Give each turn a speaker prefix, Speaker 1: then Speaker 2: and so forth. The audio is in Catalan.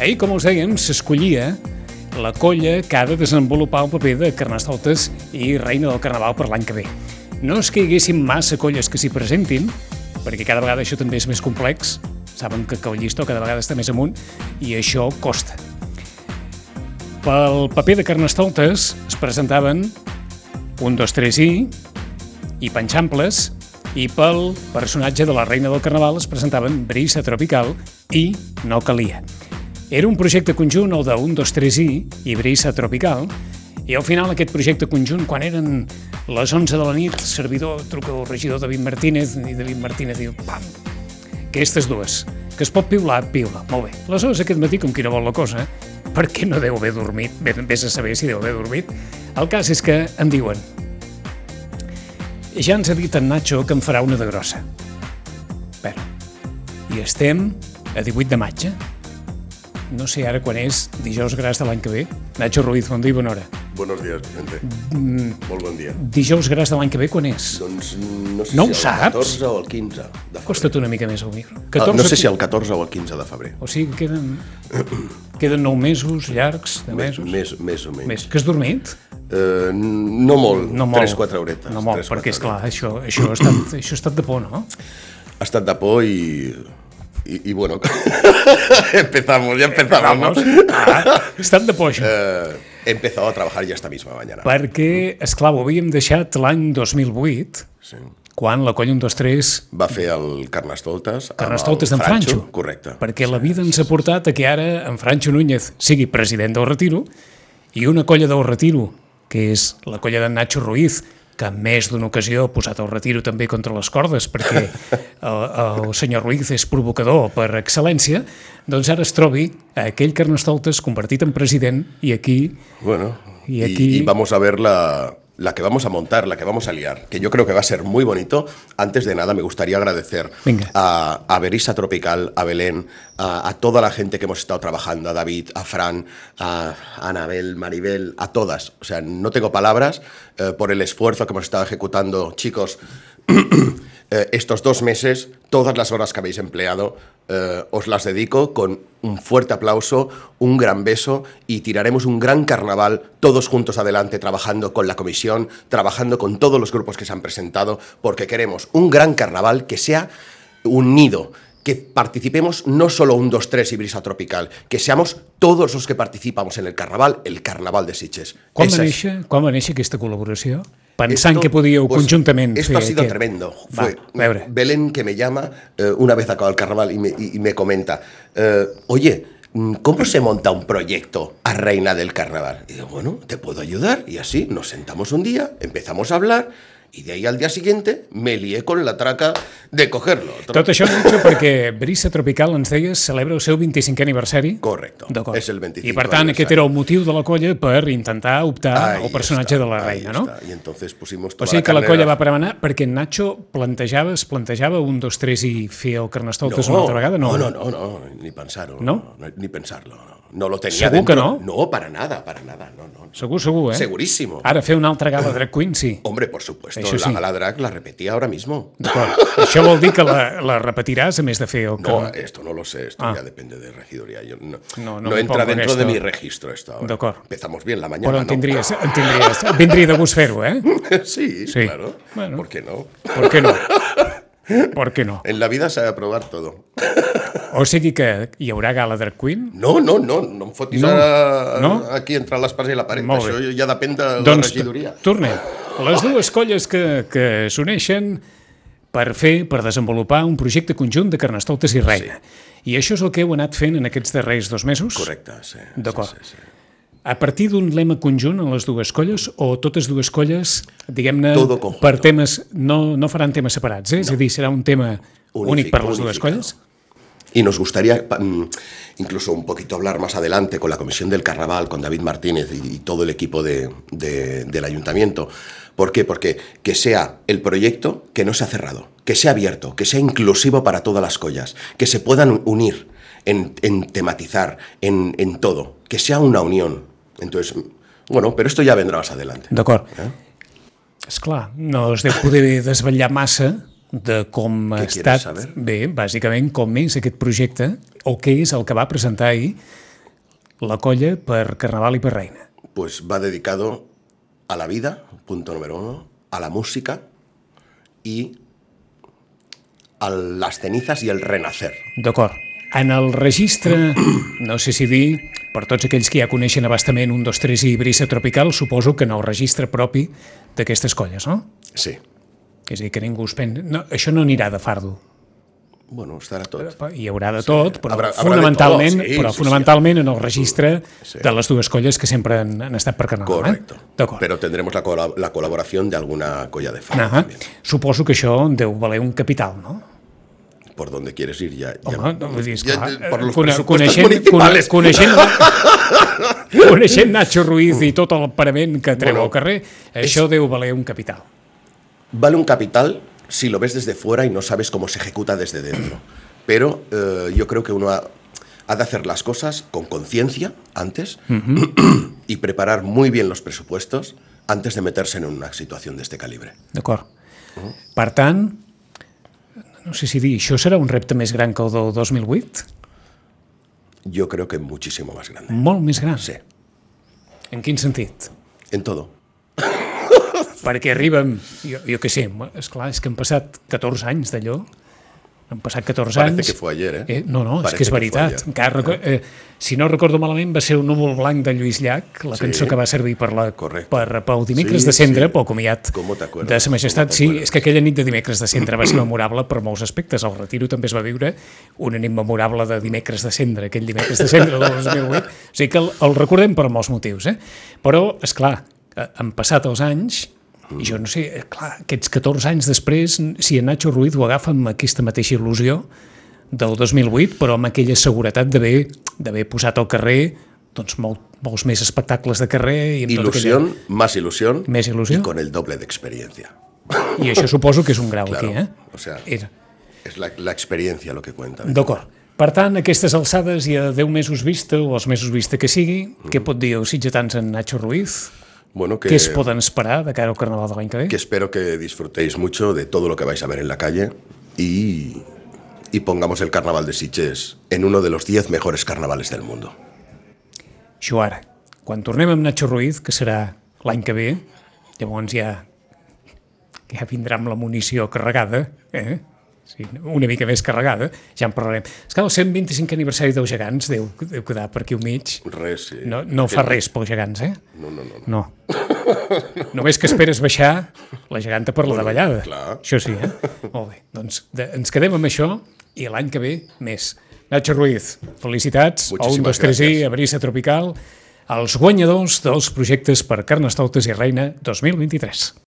Speaker 1: Ahir, com us dèiem, s'escollia la colla que ha de desenvolupar el paper de Carnestoltes i Reina del Carnaval per l'any que ve. No és que hi haguessin massa colles que s'hi presentin, perquè cada vegada això també és més complex, saben que el llistó cada vegada està més amunt, i això costa. Pel paper de Carnestoltes es presentaven un, dos, tres i, i Panxamples, i pel personatge de la reina del carnaval es presentaven Brisa Tropical i No Calia. Era un projecte conjunt, el de 1, 2, 3 i i Brisa Tropical, i al final aquest projecte conjunt, quan eren les 11 de la nit, servidor truca al regidor David Martínez, i David Martínez diu, pam, aquestes dues, que es pot piular, piula, molt bé. Aleshores, aquest matí, com qui no vol la cosa, perquè no deu haver dormit, ben vés a saber si deu haver dormit, el cas és que em diuen, ja ens ha dit en Nacho que en farà una de grossa. Bé, i estem a 18 de maig, eh? No sé ara quan és dijous gras de l'any que ve. Nacho Ruiz, bon dia i bona hora.
Speaker 2: Buenos días, gente.
Speaker 1: Mm.
Speaker 2: Molt bon dia.
Speaker 1: Dijous gras de l'any que ve quan és?
Speaker 2: Doncs no sé
Speaker 1: No ho
Speaker 2: si el
Speaker 1: saps?
Speaker 2: 14 o el 15 de febrer.
Speaker 1: Costa't una mica més el micro.
Speaker 2: Ah, no sé
Speaker 1: qui-
Speaker 2: si el 14 o el 15 de febrer.
Speaker 1: O sigui, que queden, queden 9 mesos llargs, de
Speaker 2: Més,
Speaker 1: mesos.
Speaker 2: més, més o menys.
Speaker 1: Més. Que has dormit?
Speaker 2: Eh, no molt,
Speaker 1: No molt.
Speaker 2: 3-4 horetes.
Speaker 1: No molt,
Speaker 2: tres,
Speaker 1: perquè,
Speaker 2: quatre
Speaker 1: esclar, això, això, ha estat, això ha estat de por, no?
Speaker 2: horetes. Ha estat de por i... Y, y bueno, empezamos, ya empezamos, ¿no?
Speaker 1: Ah, ha estat de por, això.
Speaker 2: Eh, he empezado a trabajar ya esta misma mañana.
Speaker 1: Perquè, esclar, ho havíem deixat l'any 2008,
Speaker 2: Sí.
Speaker 1: quan la colla 1, 2, 3,
Speaker 2: Va fer el Carnestoltes. amb
Speaker 1: Carnestoltes
Speaker 2: el
Speaker 1: d'en Francho.
Speaker 2: Correcte.
Speaker 1: Perquè la vida ens ha portat a que ara en Francho Núñez sigui president del Retiro i una colla del Retiro, que és la colla d'en Nacho Ruiz, que en més d'una ocasió ha posat el retiro també contra les cordes perquè el, el senyor Ruiz és provocador per excel·lència, doncs ara es trobi a aquell Carnestoltes convertit en president i aquí
Speaker 2: Bueno,
Speaker 1: Y aquí-
Speaker 2: y vamos a ver la, la que vamos a montar, la que vamos a liar, que yo creo que va a ser muy bonito. Antes de nada, me gustaría agradecer
Speaker 1: Venga.
Speaker 2: a, a Berisa Tropical, a Belén, a, a toda la gente que hemos estado trabajando, a David, a Fran, a Anabel, Maribel, a todas. O sea, no tengo palabras eh, por el esfuerzo que hemos estado ejecutando, chicos. eh, estos dos meses, todas las horas que habéis empleado, eh, os las dedico con un fuerte aplauso, un gran beso y tiraremos un gran carnaval todos juntos adelante, trabajando con la comisión, trabajando con todos los grupos que se han presentado, porque queremos un gran carnaval que sea unido. Que participemos no solo un 2-3 y brisa tropical, que seamos todos los que participamos en el carnaval, el carnaval de Siches.
Speaker 1: quan
Speaker 2: Esa
Speaker 1: va,
Speaker 2: es-
Speaker 1: néixer, quan va néixer aquesta col·laboració? Pensant
Speaker 2: esto,
Speaker 1: que podíeu
Speaker 2: pues,
Speaker 1: conjuntament
Speaker 2: Esto
Speaker 1: fer
Speaker 2: ha sido
Speaker 1: aquest.
Speaker 2: tremendo.
Speaker 1: Va,
Speaker 2: Fue
Speaker 1: a veure.
Speaker 2: Belén que me llama eh, una vez acabado el carnaval y me, y- y me comenta, eh, oye, mm, ¿cómo se monta un proyecto a Reina del Carnaval? Y digo, bueno, te puedo ayudar. Y así nos sentamos un día, empezamos a hablar y de ahí al día siguiente me lié con la traca de cogerlo.
Speaker 1: Tot això, Nacho, perquè Brisa Tropical, ens deies, celebra el seu 25è aniversari.
Speaker 2: Correcto.
Speaker 1: D'acord.
Speaker 2: Es el 25
Speaker 1: I per tant, aquest
Speaker 2: aniversario.
Speaker 1: era el motiu de la colla per intentar optar
Speaker 2: Ahí
Speaker 1: al personatge
Speaker 2: está,
Speaker 1: de la
Speaker 2: ahí
Speaker 1: reina, no?
Speaker 2: está. Y entonces pusimos
Speaker 1: O
Speaker 2: toda
Speaker 1: sigui que la
Speaker 2: carne
Speaker 1: colla
Speaker 2: en la-
Speaker 1: va premenar perquè en Nacho plantejava, es plantejava un, dos, tres i fer el Carnestoltes una altra vegada? No,
Speaker 2: no, no, no, ni pensarlo.
Speaker 1: ¿No?
Speaker 2: Ni pensarlo. No, No lo tenía
Speaker 1: ¿Segur que
Speaker 2: dentro.
Speaker 1: no?
Speaker 2: No, para nada, para nada. No, no.
Speaker 1: Segur, segur, eh?
Speaker 2: Segurísimo.
Speaker 1: Ara, fer una altra gala drag queen, sí.
Speaker 2: Hombre, por supuesto,
Speaker 1: Eso
Speaker 2: la
Speaker 1: sí.
Speaker 2: gala drag la repetía ahora mismo.
Speaker 1: D'acord. Això vol dir que la, la repetiràs, a més de fer el
Speaker 2: No,
Speaker 1: Carnestoltes.
Speaker 2: esto no lo sé, esto ya depende de regidoría. Yo no,
Speaker 1: Ah. No, no
Speaker 2: no
Speaker 1: me
Speaker 2: entra
Speaker 1: pongo en
Speaker 2: dentro de
Speaker 1: esto.
Speaker 2: mi registro esto ahora.
Speaker 1: De acuerdo.
Speaker 2: Empezamos bien la mañana.
Speaker 1: Però en
Speaker 2: ¿no?
Speaker 1: tindries, en tindries. Et vindria de gust fer-ho, eh?
Speaker 2: sí,
Speaker 1: Sí.
Speaker 2: claro.
Speaker 1: Bueno.
Speaker 2: ¿Por qué no?
Speaker 1: Per què no? Per què no?
Speaker 2: En la vida se ha de probar todo.
Speaker 1: O sigui que hi haurà gala drag queen?
Speaker 2: No, no, no, no em fotis
Speaker 1: No,
Speaker 2: ara
Speaker 1: no.
Speaker 2: aquí entre l'espasa i la paret.
Speaker 1: Molt bé.
Speaker 2: Això ja depèn de la
Speaker 1: doncs t-
Speaker 2: regidoria.
Speaker 1: tornem. Les dues colles que, que s'uneixen per fer, per desenvolupar un projecte conjunt de Carnestoltes i Reina. Sí. I això és el que heu anat fent en aquests darrers dos mesos?
Speaker 2: Correcte, sí. sí,
Speaker 1: D'acord.
Speaker 2: sí, sí.
Speaker 1: A partir d'un lema conjunt en les dues colles o totes dues colles, diguem-ne,
Speaker 2: Todo conjunto.
Speaker 1: per temes, no, no faran temes separats, eh? No. és a dir, serà un tema
Speaker 2: Unific-
Speaker 1: únic per les dues
Speaker 2: unificado.
Speaker 1: colles?
Speaker 2: Y nos gustaría pa- mm, incluso un poquito hablar más adelante con la Comisión del Carnaval, con David Martínez y, y todo el equipo de- de- del ayuntamiento. ¿Por qué? Porque que sea el proyecto que no sea cerrado, que sea abierto, que sea inclusivo para todas las collas, que se puedan unir en, en tematizar, en, en todo, que sea una unión. Entonces, bueno, pero esto ya vendrá más adelante.
Speaker 1: D'acord.
Speaker 2: Eh?
Speaker 1: És clar, no es deu poder desvetllar massa de com ha
Speaker 2: quieres
Speaker 1: estat...
Speaker 2: saber?
Speaker 1: Bé, bàsicament, com és aquest projecte o què és el que va presentar ahir la colla per Carnaval i per Reina.
Speaker 2: Pues va dedicado a la vida, punto número uno, a la música y a las cenizas y el renacer.
Speaker 1: D'acord. En el registre, no sé si dir, per tots aquells que ja coneixen abastament un, dos, tres i brisa tropical, suposo que en el registre propi d'aquestes colles, no?
Speaker 2: Sí.
Speaker 1: És a dir, que ningú es pensa... No, això no anirà de fardo.
Speaker 2: Bueno, estarà tot.
Speaker 1: Hi haurà de tot, però
Speaker 2: Habrà- habrà de
Speaker 1: fonamentalment,
Speaker 2: tot, sí,
Speaker 1: però
Speaker 2: sí,
Speaker 1: fonamentalment en el registre
Speaker 2: Sí.
Speaker 1: de les dues colles que sempre han, han estat per Carnaval. eh?
Speaker 2: Correcto.
Speaker 1: D'acord.
Speaker 2: Pero tendremos la, cola- la colaboración de alguna colla de fan
Speaker 1: Ahà. eh? Suposo que això deu valer un capital, no?
Speaker 2: Por donde quieres ir ya. ya-
Speaker 1: Home, no, vull dir,
Speaker 2: ya-
Speaker 1: esclar,
Speaker 2: por los
Speaker 1: cone-
Speaker 2: presupuestos
Speaker 1: coneixent- cone-
Speaker 2: municipales.
Speaker 1: Coneixent, coneixent Nacho Ruiz i tot el parament que treu
Speaker 2: Mm. Bueno,
Speaker 1: al carrer, això deu valer un capital.
Speaker 2: Vale un capital si lo ves desde fuera y no sabes cómo se ejecuta desde dentro. Pero eh, yo creo que uno ha, ha de hacer las cosas con conciencia antes y preparar muy bien los presupuestos antes de meterse en una situación de este calibre.
Speaker 1: D'acord? Per tant, no sé si dir, això serà un repte més gran que el del 2008?
Speaker 2: Yo creo que muchísimo más grande.
Speaker 1: Molt més gran.
Speaker 2: Sí,
Speaker 1: En quin sentit?
Speaker 2: en todo.
Speaker 1: Perquè arribem, jo, jo què sé, és clar, és que han passat 14 anys d'allò. Han passat 14
Speaker 2: Parece
Speaker 1: anys.
Speaker 2: que fue ayer, eh?
Speaker 1: eh no, no,
Speaker 2: Parece
Speaker 1: és que és
Speaker 2: que fue
Speaker 1: veritat.
Speaker 2: ayer.
Speaker 1: Encara, reco- eh, si no recordo malament, va ser un núvol blanc de Lluís Llach, la
Speaker 2: Sí.
Speaker 1: cançó que va servir per, la,
Speaker 2: Correcte.
Speaker 1: per, pel dimecres
Speaker 2: Sí,
Speaker 1: de cendre,
Speaker 2: sí.
Speaker 1: pel comiat
Speaker 2: Com t'acuerdas,
Speaker 1: de Sa Majestat.
Speaker 2: com
Speaker 1: Sí,
Speaker 2: t'acuerdas.
Speaker 1: és que aquella nit de dimecres de cendre va ser memorable per molts aspectes. Al retiro també es va viure una nit memorable de dimecres de cendre, aquell dimecres de cendre del 2008. O sigui que el, el recordem per molts motius. Eh? Però, és clar, eh, han passat els anys i jo no sé, eh, clar, aquests 14 anys després, si a Nacho Ruiz ho agafa amb aquesta mateixa il·lusió del 2008, però amb aquella seguretat d'haver d'haver posat al carrer doncs, molt, molts més espectacles de carrer i amb tota aquella...
Speaker 2: Ilusión, más ilusión.
Speaker 1: Más ilusión.
Speaker 2: Y con el doble de experiencia.
Speaker 1: I això suposo que és un grau
Speaker 2: Claro.
Speaker 1: aquí, eh?
Speaker 2: O sea,
Speaker 1: Era.
Speaker 2: es la, la experiencia lo que cuenta.
Speaker 1: D'acord. Per tant, a aquestes alçades i a 10 mesos vista, o els mesos vista que sigui, què pot dir els sitgetans en Nacho Ruiz?
Speaker 2: Bueno,
Speaker 1: Què es poden esperar de cara al carnaval de l'any que ve?
Speaker 2: que espero que disfrutéis mucho de todo lo que vais a ver en la calle y, y pongamos el carnaval de Sitges en uno de los 10 mejores carnavales del mundo.
Speaker 1: Això ara. Quan tornem amb Nacho Ruiz, que serà l'any que ve, llavors ja, ja vindrà amb la munició carregada, eh? Sí, una mica més carregada, ja en parlarem. És que el 125 aniversari dels gegants deu, deu quedar per aquí al mig.
Speaker 2: Res, eh,
Speaker 1: No, no
Speaker 2: que-
Speaker 1: fa res pels gegants, eh?
Speaker 2: No, no, no.
Speaker 1: No. Només que esperes baixar la geganta per la davallada.
Speaker 2: clar.
Speaker 1: Això sí, eh? Molt bé. Doncs de, ens quedem amb això i l'any que ve més. Nacho Ruiz, felicitats. a un,
Speaker 2: Moltíssimes
Speaker 1: dos, tres i
Speaker 2: gràcies.
Speaker 1: a Brisa Tropical, els guanyadors dels projectes per Carnestoltes i Reina 2023.